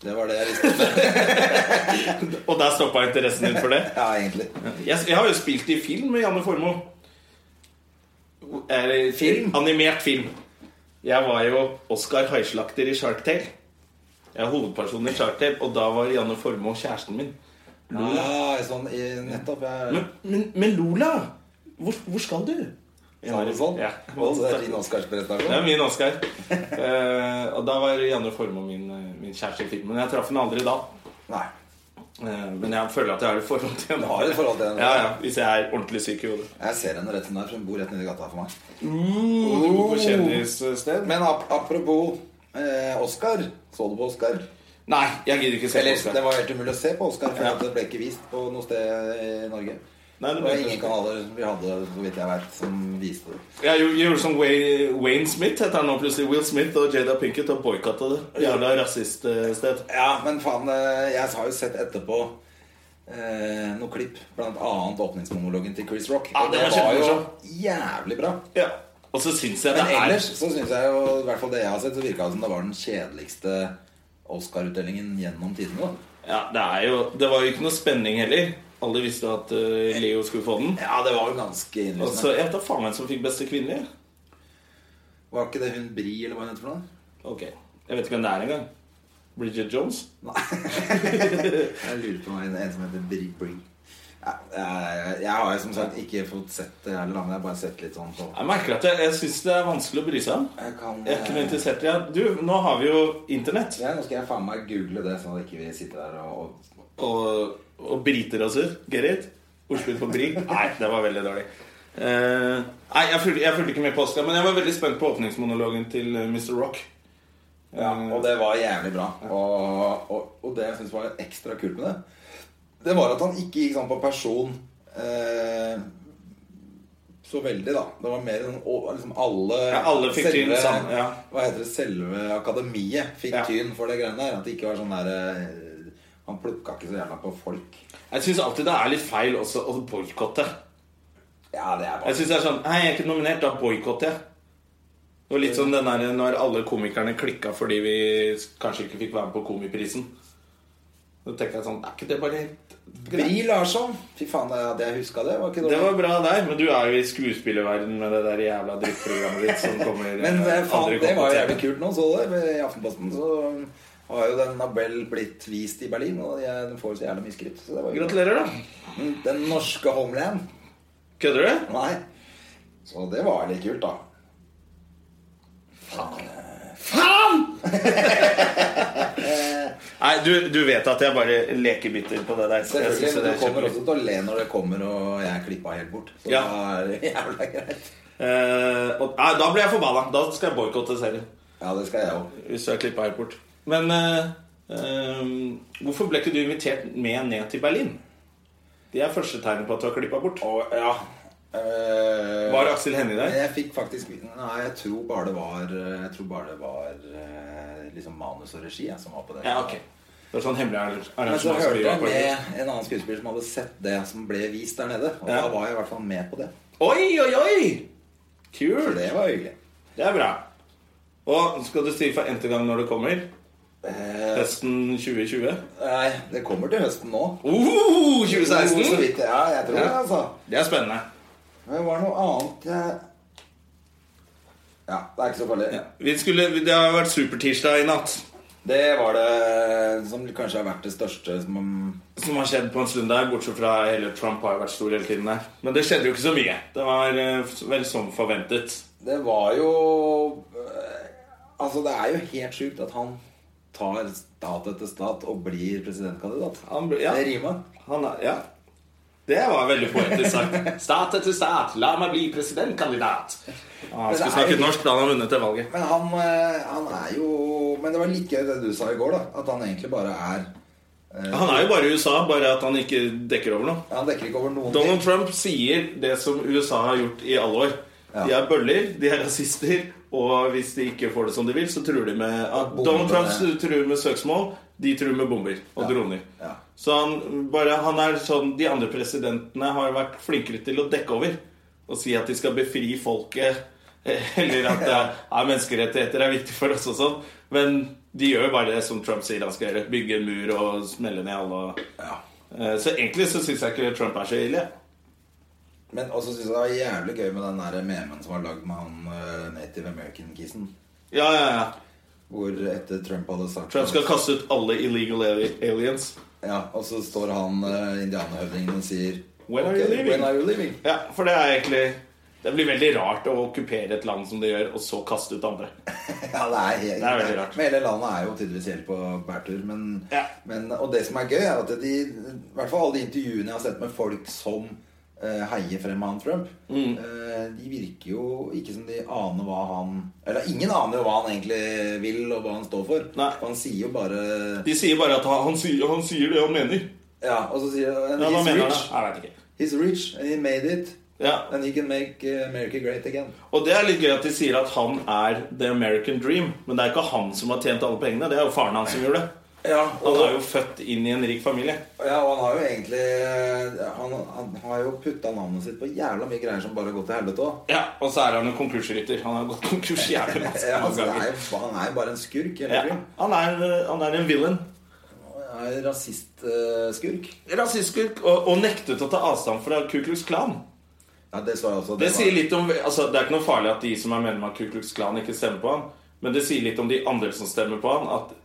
S2: Det var det jeg visste.
S1: Og der stoppa interessen din for det?
S2: Ja, egentlig.
S1: Jeg, jeg har jo spilt i film med Janne Formoe. Eh,
S2: Film?
S1: Animert film. Jeg var jo Oscar Haislakter i Shark Tale. Jeg er hovedpersonen i Shark Tale, og da var Janne Formoe kjæresten min. Lola.
S2: Ja, sånn, i- nettopp. Jeg,
S1: Ah. Men, men, men Lola, hvor, hvor skal du? Jeg var i-
S2: Sånn.
S1: Ja.
S2: Og så er det fin Oscarsprestasjon.
S1: Det er min Oscar. Eh, og da var Janne Formoe min, eh, min kjæreste i filmen. Jeg traff henne aldri da.
S2: Nei.
S1: Eh, men jeg føler at jeg har et forhold til henne.
S2: Du har et forhold til henne.
S1: Ja, ja, Hvis jeg er ordentlig syk i hodet.
S2: Jeg ser henne rett som der, for hun bor rett nedi gata for meg. Mm.
S1: Du bor på kjendissted?
S2: Men ap apropos eh, Oscar. Så du på Oscar?
S1: Nei, jeg gidder ikke se på
S2: Eller,
S1: Oscar.
S2: det var helt umulig å se på Oscar, for
S1: Ja.
S2: at det ble ikke vist på noe sted i Norge.
S1: Nei, det ble
S2: det var
S1: ikke.
S2: ingen kanaler vi hadde, så vidt jeg vet, som viste det.
S1: Jeg gjorde- jeg gjorde som Wayne, Wayne Smith heter han nå plutselig. Will Smith og Jada Pinkett og boikotta det. Jævla rasiststed.
S2: Ja, men faen, eh, jeg har jo sett etterpå eh, noen klipp, blant annet åpningsmonologen til Chris Rock.
S1: Ja,
S2: og
S1: det var
S2: jo
S1: kjempemorsom.
S2: jævlig bra.
S1: Ja. Og så syns jeg det
S2: Men
S1: er
S2: ellers så syns jeg jo, i hvert fall det jeg har sett, så virka det som det var den kjedeligste Oscar-utdelingen gjennom tidene. da.
S1: Ja, det er jo Det var jo ikke noe spenning heller. Alle visste at eh, Leo skulle få den.
S2: Ja, det var jo ganske
S1: Og
S2: innlysende.
S1: så jeg vet da faen hvem som fikk beste kvinnelige.
S2: Var ikke det hun Bri, eller hva hun heter for noe?
S1: Ok. Jeg vet ikke hvem det er engang. Bridget Jones?
S2: (laughs) Jeg lurer på meg, en som heter Bri Bri. Ja, jeg, jeg har jo som sagt ikke fått sett det heller, da, men jeg har bare sett litt sånn på
S1: Jeg merker at jeg, jeg syns det er vanskelig å bry seg om.
S2: Jeg kan
S1: Jeg er ikke noe
S2: eh,
S1: interessert i det. Du, nå har vi jo Internett.
S2: ja, Nå skal jeg faen meg google det, sånn at ikke vi sitter der og, og
S1: og, og briter altså. Get it? Ordspill på
S2: (laughs)
S1: brig? Nei, det var veldig dårlig. Eh, nei, jeg fulgte, jeg fulgte ikke med på Oscar, men jeg var veldig spent på åpningsmonologen til eh, Mr. Rock. Eh,
S2: Ja,
S1: Mm.
S2: og det var jævlig bra. Og, og, og det jeg syns var ekstra kult med det, det var at han ikke gikk sånn på person eh, så veldig, da. Det var mer sånn å, liksom alle,
S1: Ja, alle fikk tyn sammen, ja.
S2: Hva heter det, selve akademiet fikk
S1: Ja.
S2: tyn for det greiene der. At det ikke var sånn der eh, Han plukka ikke så jævla på folk.
S1: Jeg syns alltid det er litt feil også å boikotte.
S2: Ja, det er bare
S1: Jeg synes det er sånn Nei, jeg er ikke nominert, da boikotter jeg. Det var litt som den der når alle komikerne klikka fordi vi kanskje ikke fikk være med på Komiprisen. Da tenker jeg sånn Er ikke det bare helt greit?
S2: Bri Larsson! Fy faen, det- at jeg huska det, var ikke
S1: Det
S2: dårlig.
S1: var bra der, men du er jo i skuespillerverden med det der jævla drittprogrammet ditt som kommer
S2: (laughs) Men
S1: eh,
S2: eh, faen,
S1: aldri
S2: det
S1: kommer
S2: var jo
S1: til.
S2: jævlig kult nå, så du det? I Aftenposten så har jo den Nabel blitt vist i Berlin, og de- den får jo så jævlig mye skritt. Så det var jo
S1: Gratulerer, da.
S2: Men Den norske Homeland.
S1: Kødder du?
S2: Nei. Så det var litt kult, da. Faen.
S1: Faen! Nei, du, du vet at jeg bare leker bitter på det der. Jeg
S2: Selvfølgelig,
S1: synes det
S2: men du
S1: er
S2: kommer
S1: kjempegøy.
S2: også til å le når det kommer, og jeg er klippa helt bort. Så
S1: Ja.
S2: da er (laughs) det jævla greit.
S1: Eh, og, nei, da blir jeg forbanna. Da skal jeg boikotte serien.
S2: Ja, det skal jeg òg.
S1: Hvis du er klippa her bort. Men eh, eh, hvorfor ble ikke du invitert med ned til Berlin? Det er første tegnet på at du har klippa bort.
S2: Og ja Eh,
S1: Var Aksel Hennie der?
S2: Jeg fikk faktisk Nei, jeg tror bare det var Jeg tror bare det var eh, liksom manus og regi jeg, som var på det.
S1: Ja, ok. Det var sånn hemmelig arrange-
S2: Men så
S1: arrangement. som
S2: hørte
S1: vi var
S2: jeg
S1: på.
S2: med en annen skuespiller som hadde sett det som ble vist der nede. Og
S1: Ja.
S2: da var jeg i hvert fall med på det.
S1: Oi, oi, oi!
S2: For
S1: Kult.
S2: det var hyggelig.
S1: Det er bra. Og skal du si for n-te gang når det kommer?
S2: Eh,
S1: Høsten 2020?
S2: nei, det kommer til høsten nå.
S1: Oh,
S2: Jo, Så
S1: 2016!
S2: vidt, ja, jeg tror
S1: Ja.
S2: det, altså.
S1: Det er spennende.
S2: Men det var noe annet jeg Ja, det er ikke så farlig.
S1: Vi skulle, det har vært supertirsdag i natt.
S2: Det var det som kanskje har vært det største som
S1: Som har skjedd på en stund der, bortsett fra hele Trump har jo vært stor hele tiden der. Men det skjedde jo ikke så mye. Det var eh, vel som forventet.
S2: Det var jo eh, Altså, det er jo helt sjukt at han tar stat etter stat og blir presidentkandidat.
S1: Han ble- ja.
S2: Det rimer.
S1: Han er, ja. Det var veldig poetisk sagt. (laughs) Stat etter stat, la meg bli presidentkandidat. Ja, han
S2: Men det
S1: skulle
S2: er
S1: snakket
S2: jo-
S1: norsk da han har vunnet det valget.
S2: Men han, eh, han er jo Men det var like gøy det du sa i går, da. At han egentlig bare er eh,
S1: Han er jo bare i USA, bare at han ikke dekker over noe.
S2: Han dekker ikke over noen ting.
S1: Donald Trump sier det som USA har gjort i alle år.
S2: Ja.
S1: De er bøller, de er rasister, og hvis de ikke får det som de vil, så truer de med at
S2: bomber.
S1: Donald Trump truer med søksmål, de truer med bomber og
S2: Ja.
S1: droner.
S2: Ja.
S1: Så han, bare, han er sånn De andre presidentene har vært flinkere til å dekke over og si at de skal befri folket, (laughs) eller at det er, ja, menneskerettigheter er viktig for oss og sånn. Men de gjør jo bare det som Trump sier han skal gjøre. Bygge en mur og smelle ned alle.
S2: Ja.
S1: Eh, Så egentlig så syns jeg ikke Trump er så ille.
S2: Men også synes jeg det var jævlig gøy med den der memen som var lagd med han eh, native american-kisen.
S1: Ja, ja, ja.
S2: Hvor etter Trump hadde sagt
S1: Trump skal kaste ut alle illegal ali- aliens.
S2: Ja, Og så står han eh, indianerhøvdingen og sier
S1: When are you
S2: «Ok,
S1: leaving?»
S2: When are you leaving?
S1: Ja, for det er egentlig Det blir veldig rart å okkupere et land som de gjør, og så kaste ut andre.
S2: Ja, det er, helt,
S1: Det er veldig rart.
S2: Men hele landet er jo tydeligvis helt på bærtur. Men,
S1: Ja.
S2: men, og det som er gøy, er at de, i hvert fall alle de intervjuene jeg har sett med folk som eh, heier frem han Trump,
S1: Mm.
S2: eh, de virker jo ikke som de aner hva han Eller ingen aner jo hva han egentlig vil, og hva han står for.
S1: Nei.
S2: For Han sier jo bare
S1: De sier bare at han, han, sier, han sier det han mener.
S2: Ja, og så sier
S1: Ja,
S2: han
S1: hva
S2: He's
S1: mener han?
S2: rich.
S1: da? Jeg vet ikke.
S2: He's rich, and he made it.
S1: Ja.
S2: And he can make eh, America great again.
S1: Og det er litt gøy at de sier at han er the American dream. Men det er ikke han som har tjent alle pengene. Det er jo faren hans som gjorde det.
S2: Ja,
S1: Han er jo født inn i en rik familie.
S2: Ja, og han har jo egentlig eh, Han, han har jo putta navnet sitt på jævla mye greier som bare har gått til helvete òg.
S1: Ja, Og så er han en konkursrytter. Han har gått konkurs jævlig (laughs) masse
S2: Ja,
S1: mange
S2: altså, det er
S1: ganger.
S2: jo- han er jo bare en skurk. Hele
S1: Ja,
S2: tiden.
S1: han, er, han er en villain.
S2: Han er Rasistskurk.
S1: Rasistskurk. Og, og nektet å ta avstand fra Ku Klux Klan.
S2: Ja, det så jeg også.
S1: Det
S2: var-
S1: sier litt om altså, Det er ikke noe farlig at de som er medlem av Ku Klux Klan, ikke stemmer på han. Men det sier litt om de andre som stemmer på han. At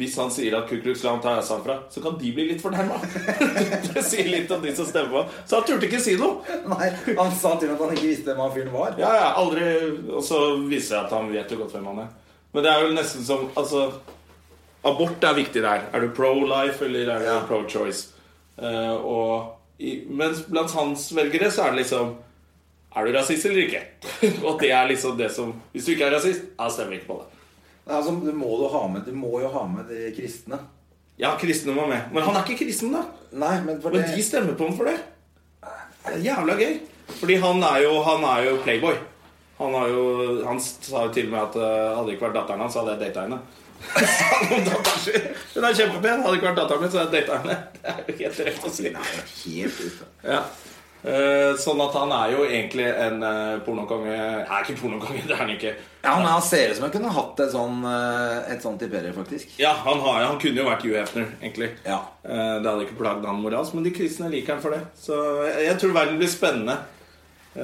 S1: hvis han sier at Ku Klux Klan tar avstand fra, så kan de bli litt fornærma. (laughs) det sier litt om de som stemmer på han. Så han turte ikke si noe.
S2: (laughs) Nei, Han sa til og med at han ikke visste hvem han fyren var.
S1: Ja, ja, aldri Og så viser det at han vet jo godt hvem han er. Men det er jo nesten som Altså, abort er viktig der. Er du pro-life, eller er du
S2: Ja.
S1: pro-choice? Eh, og i, mens blant hans velgere så er det liksom Er du rasist eller ikke? (laughs) og det er liksom det som Hvis du ikke er rasist, da stemmer ikke på det.
S2: Nei, Altså, du, må jo ha med, du må jo ha med de kristne.
S1: Ja, kristne var med. Men han er ikke kristen, da.
S2: Nei, men for
S1: Men
S2: det
S1: de stemmer på ham for det. Det er jævla gøy. Fordi han er jo, han er jo playboy. Han, har jo, han sa jo til og med at eh, hadde det ikke vært datteren hans, hadde jeg data henne. (laughs) Sa han om datteren sin. Hun er kjempepen. Hadde det ikke vært datteren min, så hadde jeg data henne. (laughs) Det er jo helt rett å si.
S2: Helt ute.
S1: Ja. Eh, sånn at han er jo egentlig en eh, pornokonge Er ikke pornokonge, (laughs) det er han ikke.
S2: Ja, men Han ser ut som han kunne hatt et sånn, eh, et sånt imperium, faktisk.
S1: Ja, han, har, han kunne jo vært Hugh Hefner, egentlig.
S2: Ja.
S1: Eh, det hadde ikke plagd han moralsk, men de kristne liker han for det. Så jeg, jeg tror verden blir spennende. Eh,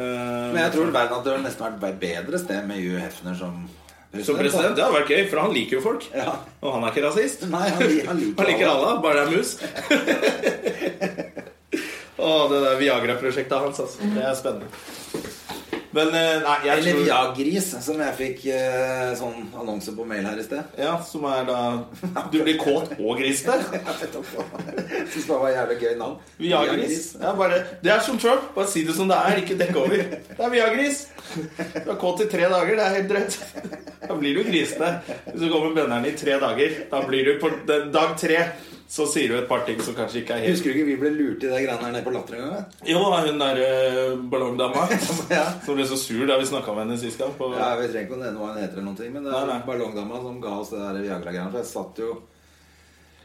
S2: Men jeg tror verden hadde nesten vært et bedre sted med Hugh Hefner som president.
S1: som president, det hadde vært gøy, for han liker jo folk.
S2: Ja.
S1: Og han er ikke rasist.
S2: Nei, han, li- han liker,
S1: Han liker
S2: alle.
S1: alle, bare det er (laughs) mus. Og det der Viagra-prosjektet hans, altså. Det er spennende. Men eh, nei, jeg
S2: Eller
S1: tror
S2: Viagris, som jeg fikk eh, sånn annonse på mail her i sted. (laughs)
S1: Ja, som er da (laughs) Du blir kåt og gris (laughs) der.
S2: Jeg vet da faen. Jeg synes det var et jævlig gøy navn.
S1: Viagris. Ja, bare, det er som Trump. Bare si det som det er, ikke dekk over. Det er Viagris. Du er kåt i tre dager. Det er helt drøyt. (laughs) Da blir du grisete. Hvis du går med bønnerne i tre dager, da blir du på den- dag tre så sier du et par ting som kanskje ikke er helt
S2: Husker du ikke vi ble lurt i de greiene her nede på Latter en gang? vet du?
S1: Jo, hun der eh, ballongdama
S2: (laughs) Ja.
S1: som ble så sur da vi snakka med henne sist gang. På,
S2: Ja, Vi trenger ikke å nevne hva hun heter, eller noen ting, men det
S1: Nei,
S2: er
S1: nei.
S2: ballongdama som ga oss det der Viagra-greiene. For jeg satt jo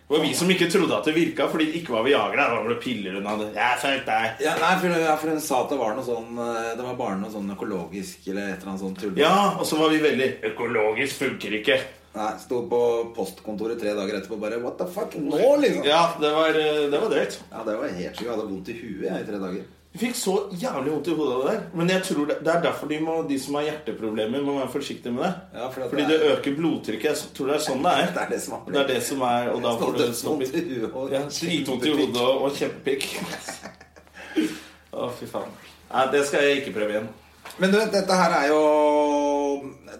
S1: Det var vi som ikke trodde at det virka, fordi det ikke var Viagra. Det var vel piller hun hadde. Jeg følte deg.
S2: ja, Nei, for, ja, for hun sa at det var noe sånn eh, Det var bare noe sånn økologisk eller et eller annet sånt tull.
S1: Ja, og så var vi veldig Økologisk funker ikke.
S2: Nei, Sto på postkontoret tre dager etterpå bare What the fuck? Nå, liksom? Ja,
S1: Ja, det var, eh, det var drøyt.
S2: det var helt sjukt. Jeg hadde vondt i huet jeg, i tre dager.
S1: Jeg fikk så jævlig vondt i hodet av det der. Men jeg tror det, det er derfor de, må, de som har hjerteproblemer, må være forsiktige med det.
S2: Ja, for at
S1: Fordi
S2: det
S1: det
S2: er-
S1: øker blodtrykket. Jeg tror det er sånn det
S2: Det
S1: er.
S2: er det som
S1: Det er det som er Og da får du
S2: Stått
S1: stopp i
S2: vondt i huet og
S1: ja, Dritvondt i hodet og, og (laughs) kjempepikk. Å, fy faen. Nei, det skal jeg ikke prøve igjen.
S2: Men du, dette her er jo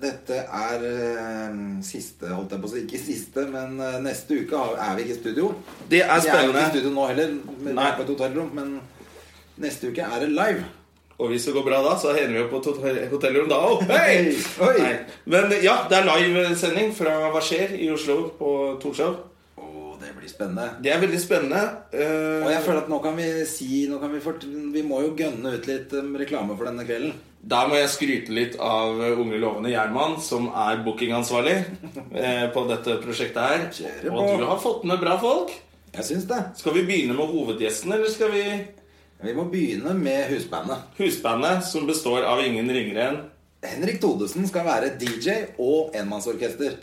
S2: Dette er eh, siste, holdt jeg på å si. Ikke siste, men eh, neste uke har- er vi ikke i studio.
S1: Det er
S2: Vi er jo ikke i
S1: spennende.
S2: studio nå heller, men,
S1: Nei.
S2: på et hotellrom, men neste uke er det live.
S1: Og hvis det går bra da, så hender vi jo på et hotell- hotellrom da òg. Hei!
S2: Oi!
S1: Nei. Men ja, det er livesending fra Hva skjer i Oslo på Torshov.
S2: Å, det blir spennende.
S1: Det er veldig spennende. Eh,
S2: Og jeg føler at nå kan vi si nå kan vi, fort, vi må jo gønne ut litt eh, reklame for denne kvelden.
S1: Der må jeg skryte litt av Unge lovende Gjerman, som er bookingansvarlig eh, på dette prosjektet her.
S2: Kjører på.
S1: Og du har fått med bra folk.
S2: Jeg syns det.
S1: Skal vi begynne med hovedgjesten, eller skal vi
S2: Vi må begynne med husbandet.
S1: Husbandet, som består av ingen ringere enn
S2: Henrik Todesen skal være DJ og enmannsorkester.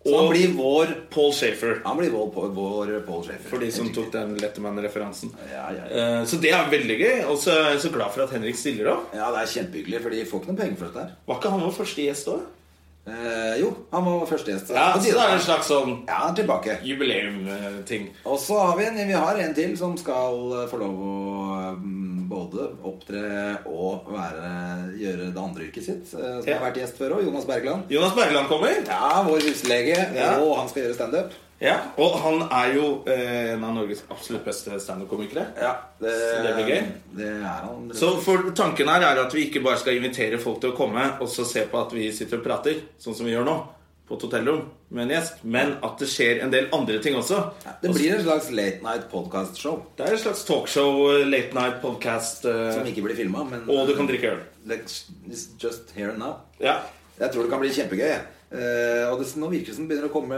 S2: Så
S1: Og-
S2: han blir vår
S1: Paul Shafer.
S2: Han blir vår, vår Paul Schaefer.
S1: For de som tok den Letterman-referansen.
S2: Ja, ja, ja.
S1: Eh, Så det er veldig gøy. Og så er jeg så glad for at Henrik stiller opp.
S2: ja, det er kjempehyggelig, for de får ikke noe penger for dette her.
S1: Var ikke han vår første gjest òg?
S2: Eh, jo, han var første gjest.
S1: Ja,
S2: På
S1: så det
S2: tide.
S1: er en slags sånn
S2: ja, han er tilbake.
S1: jubileum-ting.
S2: Og så har vi en, vi har en til som skal eh, få lov å mm, både opptre og være, gjøre det andre yrket sitt. eh, Som
S1: Ja.
S2: har vært gjest før òg. Jonas Bergland.
S1: Jonas Bergland kommer.
S2: Ja, vår huslege.
S1: Ja.
S2: Og han skal gjøre standup.
S1: Ja, Og han er jo eh, en av Norges absolutt beste standup-komikere.
S2: Ja, det,
S1: Så det blir gøy.
S2: Det er han.
S1: Så for tanken her er at vi ikke bare skal invitere folk til å komme og så se på at vi sitter og prater, sånn som vi gjør nå, på et hotellrom med en gjest, men at det skjer en del andre ting også.
S2: det blir en slags late night podcast-show.
S1: Det er et slags talkshow, eh, late night podcast, eh,
S2: Som ikke blir filma, men
S1: og du kan drikke øl.
S2: Let's it's just here and now.
S1: Ja.
S2: Jeg tror det kan bli kjempegøy. jeg. Eh, og det, nå virker det som det begynner å komme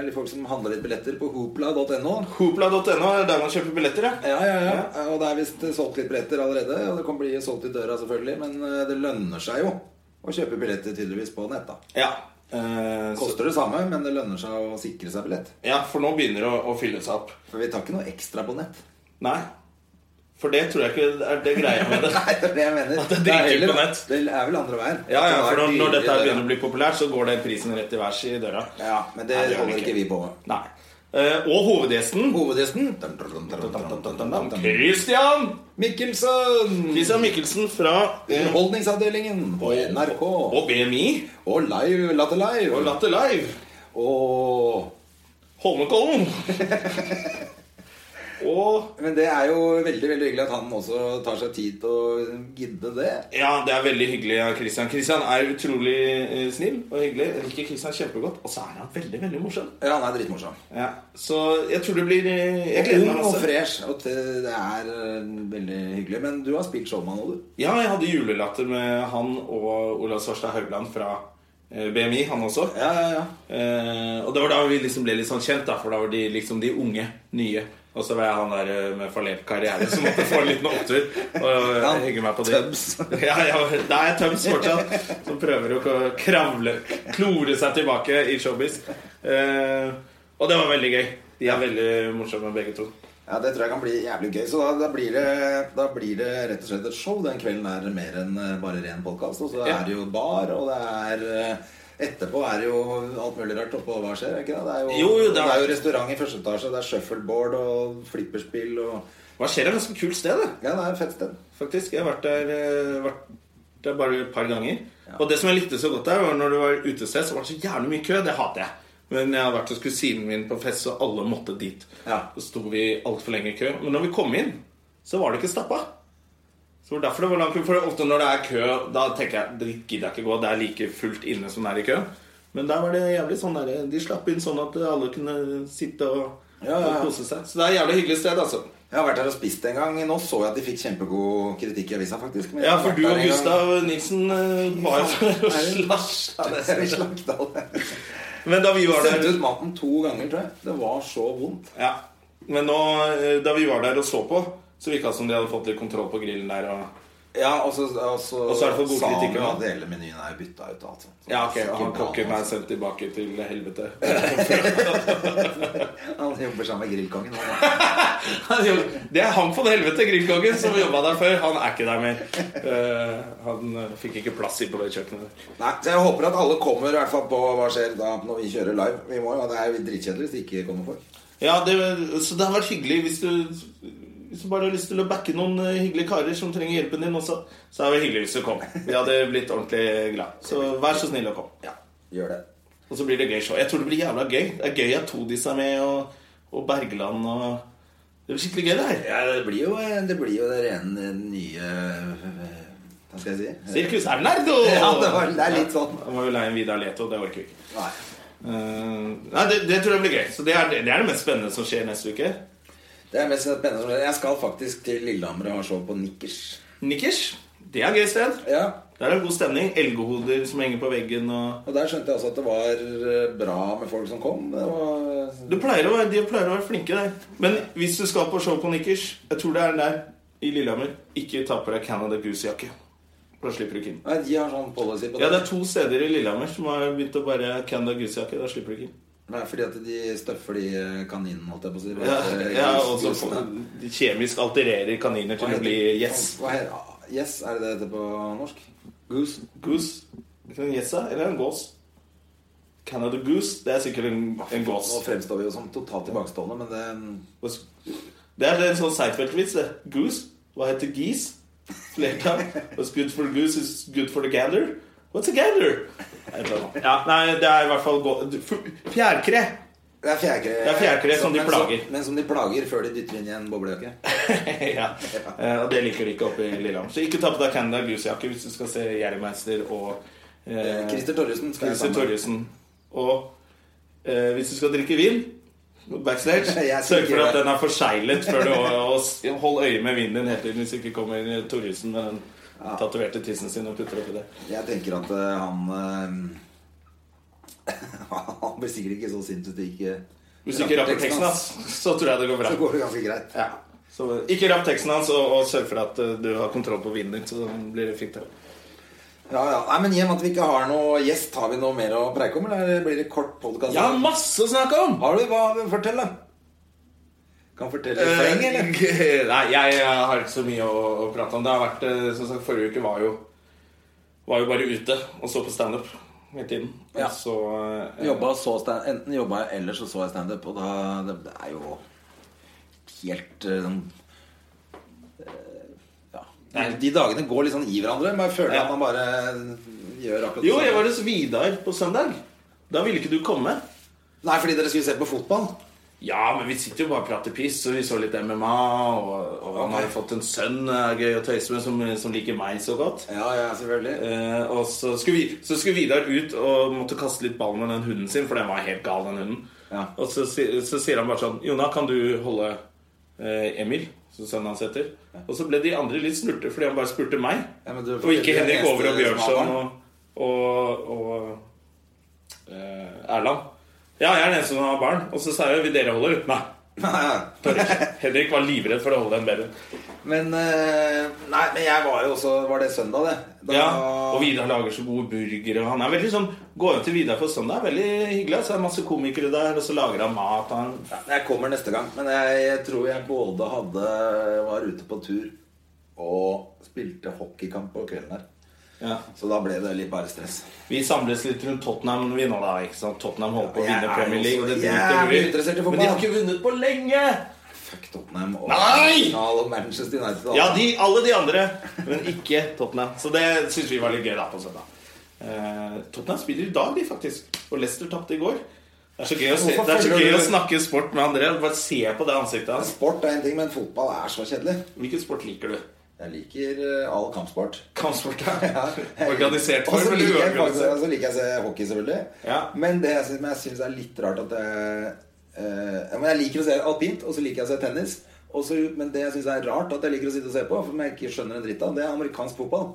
S2: eller folk som handler litt billetter på hopla.no.
S1: Hoopla.no er der man kjøper billetter, ja.
S2: Ja, ja, ja. Og det er visst solgt litt billetter allerede. Og det kan bli solgt i døra, selvfølgelig. Men eh, det lønner seg jo å kjøpe billetter tydeligvis på nett. da
S1: Ja. Eh, så,
S2: Koster det samme, men det lønner seg å sikre seg billett.
S1: ja, for nå begynner det å, å fylle seg opp.
S2: For vi tar ikke noe ekstra på nett. (laughs)
S1: Nei. For det tror jeg ikke er det greia med
S2: (laughs)
S1: det.
S2: Nei, det er det jeg mener.
S1: det drikker
S2: er heller-
S1: på nett.
S2: Det er vel andre veien.
S1: Ja, ja,
S2: Det er
S1: (laughs) for når, når
S2: dyrere
S1: dette
S2: i
S1: her
S2: døra.
S1: begynner å bli populært, så går den prisen rett i værs i døra.
S2: Ja, men det
S1: Nei, det gjør
S2: holder
S1: det ikke.
S2: ikke vi på med.
S1: Nei. Eh, og hovedgjesten
S2: Hovedgjesten
S1: Christian!
S2: Mikkelsen!
S1: Christian Mikkelsen fra eh,
S2: Underholdningsavdelingen på NRK.
S1: og BMI
S2: Og Live Latter
S1: og
S2: Live.
S1: Latter Live.
S2: Og
S1: Holmenkollen. (laughs) Og
S2: Men det er jo veldig veldig hyggelig at han også tar seg tid til å gidde det.
S1: Ja, det er veldig hyggelig av Christian. Christian er utrolig eh, snill og hyggelig. Jeg liker Christian kjempegodt. Og så er han veldig, veldig morsom.
S2: Ja, han er dritmorsom.
S1: Ja. Så jeg tror det blir eh, Jeg gleder
S2: Ung
S1: meg
S2: og
S1: masse.
S2: fresh. Og det det er eh, veldig hyggelig. Men du har spilt showman òg, du.
S1: Ja, jeg hadde julelatter med han og Olav Svarstad Haugland fra eh, BMI, han også.
S2: Ja, ja, ja.
S1: Eh, og det var da vi liksom ble litt sånn kjent, da, for da var de liksom de unge, nye. Og så var jeg han der eh, med forlent karriere som måtte få en liten opptur. Og
S2: Ja,
S1: eh, hygge meg på det.
S2: tøms.
S1: (laughs) Ja, ja, det er tøms fortsatt. Som prøver å k- kravle, klore seg tilbake i showbiz. Eh, og det var veldig gøy. De er veldig morsomme begge to.
S2: Ja, Det tror jeg kan bli jævlig gøy. Så da, da, blir det, da blir det rett og slett et show. Den kvelden er det mer enn eh, bare ren podkast. Og så
S1: Ja.
S2: er det jo bar, og det er eh, Etterpå er det jo alt mulig rart oppå. Hva skjer? er det Ikke det? Det, er jo,
S1: Jo, jo, det
S2: det
S1: er-
S2: er jo restaurant i første etasje. Det er shuffleboard og flipperspill og
S1: Hva skjer? Det er et ganske kult sted, det.
S2: Ja, det er et fett sted.
S1: Faktisk, Jeg har vært der, eh, vært der bare et par ganger.
S2: Ja.
S1: Og det som jeg likte så godt der, var når det var utested, så var det så jævlig mye kø. Det hater jeg. Men jeg har vært hos kusinen min på fest, så alle måtte dit.
S2: Ja.
S1: Så sto vi altfor lenge i kø. Men når vi kom inn, så var det ikke stappa. Så det var derfor det var lang kø. For ofte når det er kø, da tenker jeg dritt gidder jeg ikke gå. Det er like fullt inne som det er i kø. Men der var det jævlig sånn der, de slapp inn sånn at alle kunne sitte og,
S2: Ja, ja, ja.
S1: og kose seg. Så det er et jævlig hyggelig sted, altså.
S2: Jeg har vært her og spist en gang. Nå så jeg at de fikk kjempegod kritikk i avisa, faktisk. men jeg
S1: Ja,
S2: har
S1: for
S2: vært
S1: du
S2: der
S1: og
S2: en gang.
S1: Gustav Nilsen eh, var jo
S2: Er det-
S1: slasja
S2: Ja, (laughs) Vi
S1: nesten.
S2: slakta det.
S1: Men da vi var
S2: Sendte
S1: der
S2: ut maten to ganger, tror jeg. Det var så vondt.
S1: ja. Men nå, eh, da vi var der og så på, så virka det som de hadde fått litt kontroll på grillen der. Og...
S2: Ja, og så, og så,
S1: Og så er det for god
S2: sa han
S1: kritikk,
S2: jo
S1: ja.
S2: at hele menyen er bytta ut. og alt sånt. Så
S1: Ja, ok, og han
S2: sikkert
S1: kokken
S2: han,
S1: er sendt tilbake til helvete.
S2: Han jobber sammen med grillkongen. han, da.
S1: (laughs) Han jobb- Det er han på det helvete, grillkongen, som jobba der før. Han er ikke der
S2: (laughs)
S1: mer. Eh, Han eh, fikk ikke plass inn på det kjøkkenet der.
S2: (laughs) Nei, så Jeg håper at alle kommer i hvert fall på hva skjer da når vi kjører live. Vi må jo, Det er jo dritkjedelig hvis det ikke kommer folk.
S1: Ja, det, så det har vært hyggelig hvis du, hvis du bare har lyst til å backe noen eh, hyggelige karer som trenger hjelpen din også, så er det hyggelig hvis du
S2: (laughs)
S1: kommer. Vi hadde blitt ordentlig glad. Så vær så snill å komme.
S2: Ja, gjør det.
S1: Og så blir det gøy show. Jeg tror det blir jævla gøy. Det er gøy at Todis er med, og, og Bergland og Det blir skikkelig gøy, det her.
S2: Ja, det blir jo det, blir jo det rene nye eh, Hva skal jeg si?
S1: Sirkus Ernerdo!
S2: (laughs) Ja, det, var, det er litt sånn.
S1: Da må vi leie en Vidar Leto. Det orker vi ikke.
S2: Nei.
S1: Eh, nei, det, det tror jeg blir gøy. Så det er, det er det mest spennende som skjer neste uke.
S2: Det er mest spennende som skjer. Jeg skal faktisk til Lillehammer og ha show på Nikkers.
S1: Nikkers. Det er et gøy sted.
S2: Ja,
S1: Der er det god stemning. Elgehoder som henger på veggen og
S2: og der skjønte jeg også at det var eh, bra med folk som kom. Det var...
S1: Du pleier å være, de pleier å være flinke der. Men hvis du skal på show på Nikkers Jeg tror det er der i Lillehammer. Ikke ta på deg Canada Goose-jakke. Da slipper du ikke inn.
S2: Nei, de har sånn policy på det.
S1: Ja, Det er to steder i Lillehammer som har begynt å bare Canada Goose-jakke. Da slipper du ikke inn.
S2: Nei, fordi at de støffer de eh, kaninene, holdt jeg på å si.
S1: Ja,
S2: Eh,
S1: ja,
S2: gus-
S1: og så
S2: gusene.
S1: får- de kjemisk altererer kaniner til
S2: Hva
S1: å
S2: heter-
S1: bli gjess.
S2: Hva heter ah, Yes, er det det heter på norsk? Goose?
S1: Goose. Er det en gjess, da? eller en gås? Canada Goose, det er sikkert en, en gås.
S2: Nå fremstår vi jo som totalt tilbakestående, men eh, det
S1: Det er en sånn Seinfeld-vits, det. Goose. Hva heter geese? Flertall. What's good for the goose is good for the gander. What's a gander? sånn? Jeg vet ikke. Ja, nei, det er i hvert fall gå- f- Fjærkre!
S2: Det er fjærkre.
S1: Det er fjærkre
S2: Så-
S1: som de
S2: men
S1: plager.
S2: men som de plager før de dytter inn i en boblejakke.
S1: (laughs) ja. Eh, Og det liker de ikke oppe i Lillehammer. Så ikke ta på deg Canada Goose-jakke hvis du skal se Jeremeister og
S2: Eh,
S1: eh,
S2: Christer Torjussen skal jeg
S1: Christer
S2: sammen med.
S1: Torjussen. Og eh, hvis du skal drikke vin backstage, (laughs)
S2: Jeg skal
S1: sørg for
S2: ikke
S1: at
S2: det.
S1: den er forseglet før (laughs) du og, og hold øye med vinen din hele tiden hvis ikke kommer Torjussen med den tatoverte tissen sin og putter oppi det.
S2: Jeg tenker at eh, han eh, (laughs) Han blir sikkert ikke så eh, sint hvis det ikke
S1: Hvis du ikke rapper teksten hans, så tror jeg det går bra.
S2: Så går det ganske greit.
S1: Ja. Så ikke rapp teksten hans, og, og sørg for at eh, du har kontroll på vinen din, så blir det fint. det.
S2: Ja, ja. Nei, men I og med at vi ikke har noe gjest, har vi noe mer å preike om? Eller blir det kort podkast?
S1: Jeg har masse å snakke om!
S2: Har du hva? Fortell, da. Kan fortelle i fleng, eller?
S1: Eh, (laughs) Nei, jeg eh, har ikke så mye å, å prate om. Det har vært, eh, som sagt, Forrige uke var jo, var jo bare ute og så på standup hele tiden.
S2: Ja.
S1: Og så eh,
S2: Jobba så stand, enten jobba jeg eller så så jeg standup, og da det, det er jo helt eh, sånn eh, Ja.
S1: Nei.
S2: De dagene går litt sånn i hverandre. Man føler
S1: Ja.
S2: at man bare gjør akkurat
S1: Jo, jeg
S2: det samme.
S1: var hos Vidar på søndag. Da ville ikke du komme.
S2: Nei, fordi dere skulle se på fotball.
S1: Ja, men vi sitter jo bare og prater piss, og vi så litt MMA, og, og han har jo fått en sønn eh, gøy å tøyse med, som, som liker meg så godt.
S2: Ja, ja, selvfølgelig.
S1: Eh, og så skulle, vi, så skulle Vidar ut og måtte kaste litt ball med den hunden sin, for den var helt gal, den hunden.
S2: Ja.
S1: Og så, si- så sier han bare sånn Jona, kan du holde eh, Emil? Som sønnen hans heter. Og så ble de andre litt snurte fordi han bare spurte meg.
S2: Ja, men du-
S1: og ikke Henrik Over og Bjørnson
S2: Smalbarn.
S1: og, og, og eh, Erland. Ja, jeg er den eneste som har barn. Og så sa jeg vil dere holde ut? Nei. tør ikke. Henrik var livredd for å holde den babyen.
S2: Men eh, Nei, men jeg var jo også Var det søndag, det? Da-
S1: Ja, og Vidar lager så gode burgere. og Han er veldig sånn, Gå inn til Vidar på søndag, er veldig hyggelig. Så er det masse komikere der, og så lager han mat. Han,
S2: Jeg kommer neste gang, men jeg, jeg tror jeg både hadde var ute på tur og spilte hockeykamp på kvelden her.
S1: ja.
S2: Så da ble det litt bare stress.
S1: Vi samles litt rundt Tottenham vi nå, da. ikke sant? Tottenham holder på å
S2: Jeg er
S1: vinne Premier
S2: jo
S1: League. Og det
S2: så
S1: driter vi
S2: jævlig interessert i
S1: i.
S2: fotball.
S1: Men de har ikke vunnet på lenge!
S2: Fuck Tottenham og
S1: Nei!
S2: Arsenal og Manchester United. og
S1: Ja,
S2: alt.
S1: de, alle de andre, men ikke Tottenham. Så det syns vi var litt gøy da på søndag. Eh, Tottenham spiller i dag, de, faktisk. Og Leicester tapte i går. Det er så gøy å, se,
S2: Hvorfor
S1: det er så
S2: følger
S1: gøy
S2: du-
S1: å snakke sport med André. Bare se på det ansiktet hans.
S2: Sport er en ting, men fotball er så kjedelig.
S1: Hvilken sport liker du?
S2: Jeg liker eh, all kampsport.
S1: Kampsport, ja.
S2: Jeg-
S1: Organisert
S2: Og så
S1: form eller
S2: liker jeg faktisk-
S1: uorganisert?
S2: Og så liker jeg å se hockey, selvfølgelig.
S1: Ja.
S2: Men det jeg syns- men jeg syns er litt rart at jeg, eh, men jeg liker å se alpint, og så liker jeg å se tennis. Og så- men det jeg syns er rart at jeg liker å sitte og se på, for jeg ikke skjønner en dritt av, det er amerikansk fotball.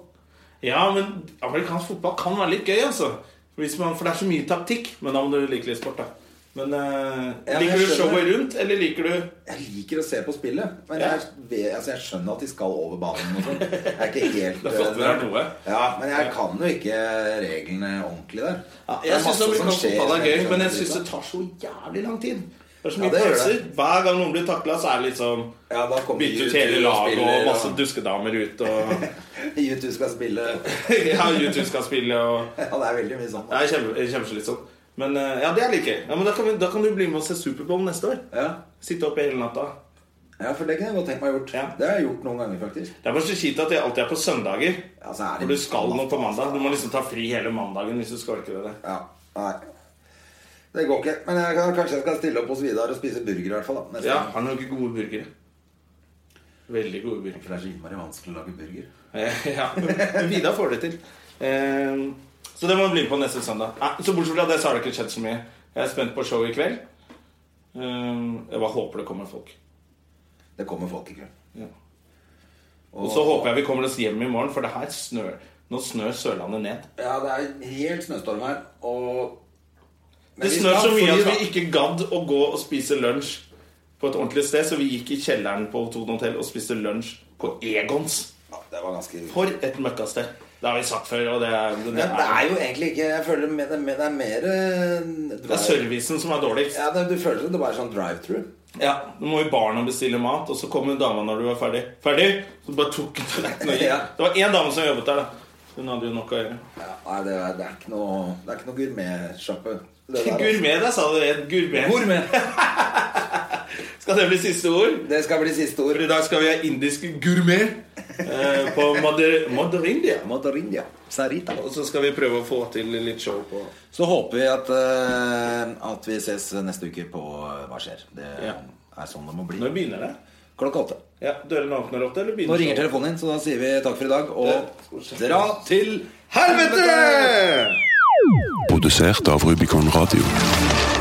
S1: Ja, men amerikansk fotball kan være litt gøy, altså. Hvis man, for det er så mye taktikk. Men da må du like litt sport, da. Men eh,
S2: Ja, men jeg
S1: Liker du
S2: skjønner.
S1: showet rundt, eller liker du
S2: Jeg liker å se på spillet, men
S1: Ja.
S2: jeg, vet, altså, jeg skjønner at de skal over banen. Og sånn. jeg er ikke
S1: (laughs)
S2: helt
S1: Det er flott med det er noe.
S2: Ja, Men jeg kan jo ikke reglene ordentlig der. Det er
S1: Jeg syns
S2: masse som
S1: amerikansk
S2: skjer
S1: fotball
S2: som
S1: er
S2: jeg
S1: gøy,
S2: ikke
S1: men jeg
S2: skjønner
S1: syns
S2: dritt
S1: det
S2: av.
S1: tar så jævlig lang tid. Det er så
S2: Ja,
S1: mye
S2: det gjør
S1: pauser.
S2: det.
S1: Hver gang noen blir takla, så er det liksom
S2: ja, da kommer
S1: Bytter ut
S2: U2
S1: hele laget,
S2: spiller,
S1: og masse duskedamer ut,
S2: (laughs)
S1: og
S2: YouTube skal spille (laughs)
S1: Ja, YouTube skal spille, og
S2: Ja, det er veldig mye sånn.
S1: Det er kjempe- kjempeslitsomt. Men eh, ja, det er litt gøy. Ja, men da, kan vi, da kan du bli med og se Superbowl neste år.
S2: Ja.
S1: Sitte oppe hele natta.
S2: ja, for det kunne jeg godt tenkt meg å gjort.
S1: Ja.
S2: Det har jeg gjort noen ganger, faktisk.
S1: Det er bare så kjipt at det alltid er på søndager.
S2: Ja, så er det-
S1: For du skal noe på mandag. Du må liksom ta fri hele mandagen hvis du skal orke det.
S2: Ja, nei. Det går ikke. Men jeg kan, kanskje jeg skal stille opp hos Vidar og spise burger, i hvert fall. Da, neste
S1: Ja,
S2: gang.
S1: har noen gode burgere. Veldig gode burgere. (laughs)
S2: For det er så innmari vanskelig å lage burger.
S1: Eh, Ja, men (laughs) Vidar får det til. Eh, Så det må du bli med på neste søndag. Nei, så bortsett fra det, så har det ikke skjedd så mye. Jeg er spent på showet i kveld. Eh, Jeg bare håper det kommer folk.
S2: Det kommer folk i kveld.
S1: Ja. Og så håper jeg vi kommer oss hjem i morgen, for det her snør. Nå snør Sørlandet ned.
S2: Ja, det er helt snøstorm her, og Men
S1: Det
S2: vi
S1: snør
S2: skal-
S1: så mye altså.
S2: vi
S1: at
S2: skal-
S1: vi ikke gadd å gå og spise lunsj på et ordentlig sted, så vi gikk i kjelleren på Toten hotell og spiste lunsj på Egons.
S2: ja, Det var ganske
S1: For et møkkasted. Det har vi sagt før, og det er, det
S2: Men det er
S1: er,
S2: jo egentlig ikke Jeg føler med, det, med, det er mer eh,
S1: det er
S2: drive-
S1: servicen som er dårligst.
S2: Ja, det, Du føler det, det bare er sånn drive-through.
S1: Ja, Du må i baren og bestille mat, og så kommer dama når du var ferdig. Ferdig? Så bare tok hun tallerkenen og
S2: Ja.
S1: gikk. Det var én dame som jobbet der, da. Hun hadde jo nok å gjøre.
S2: Ja, nei, det er, det er ikke noe Det er ikke noe gourmetsjappe. det der, altså.
S1: Gourmet, jeg sa det rett. Gourmet.
S2: Gourmet.
S1: Skal det bli siste ord?
S2: Det skal bli siste ord.
S1: For i dag skal vi ha indisk gourmet eh, på Mader Mader India.
S2: Matarindia. Sarita.
S1: Og så skal vi prøve å få til litt show på
S2: Så håper vi at, eh, at vi ses neste uke på eh, Hva skjer. Det
S1: Ja.
S2: er sånn det må bli.
S1: Når begynner det?
S2: Klokka åtte.
S1: Ja, Dørene åpner åtte, eller
S2: Nå
S1: begynner
S2: ringer telefonen din, så da sier vi takk for i dag og dra til
S1: Helvete!
S3: Produsert av Rubicon Radio.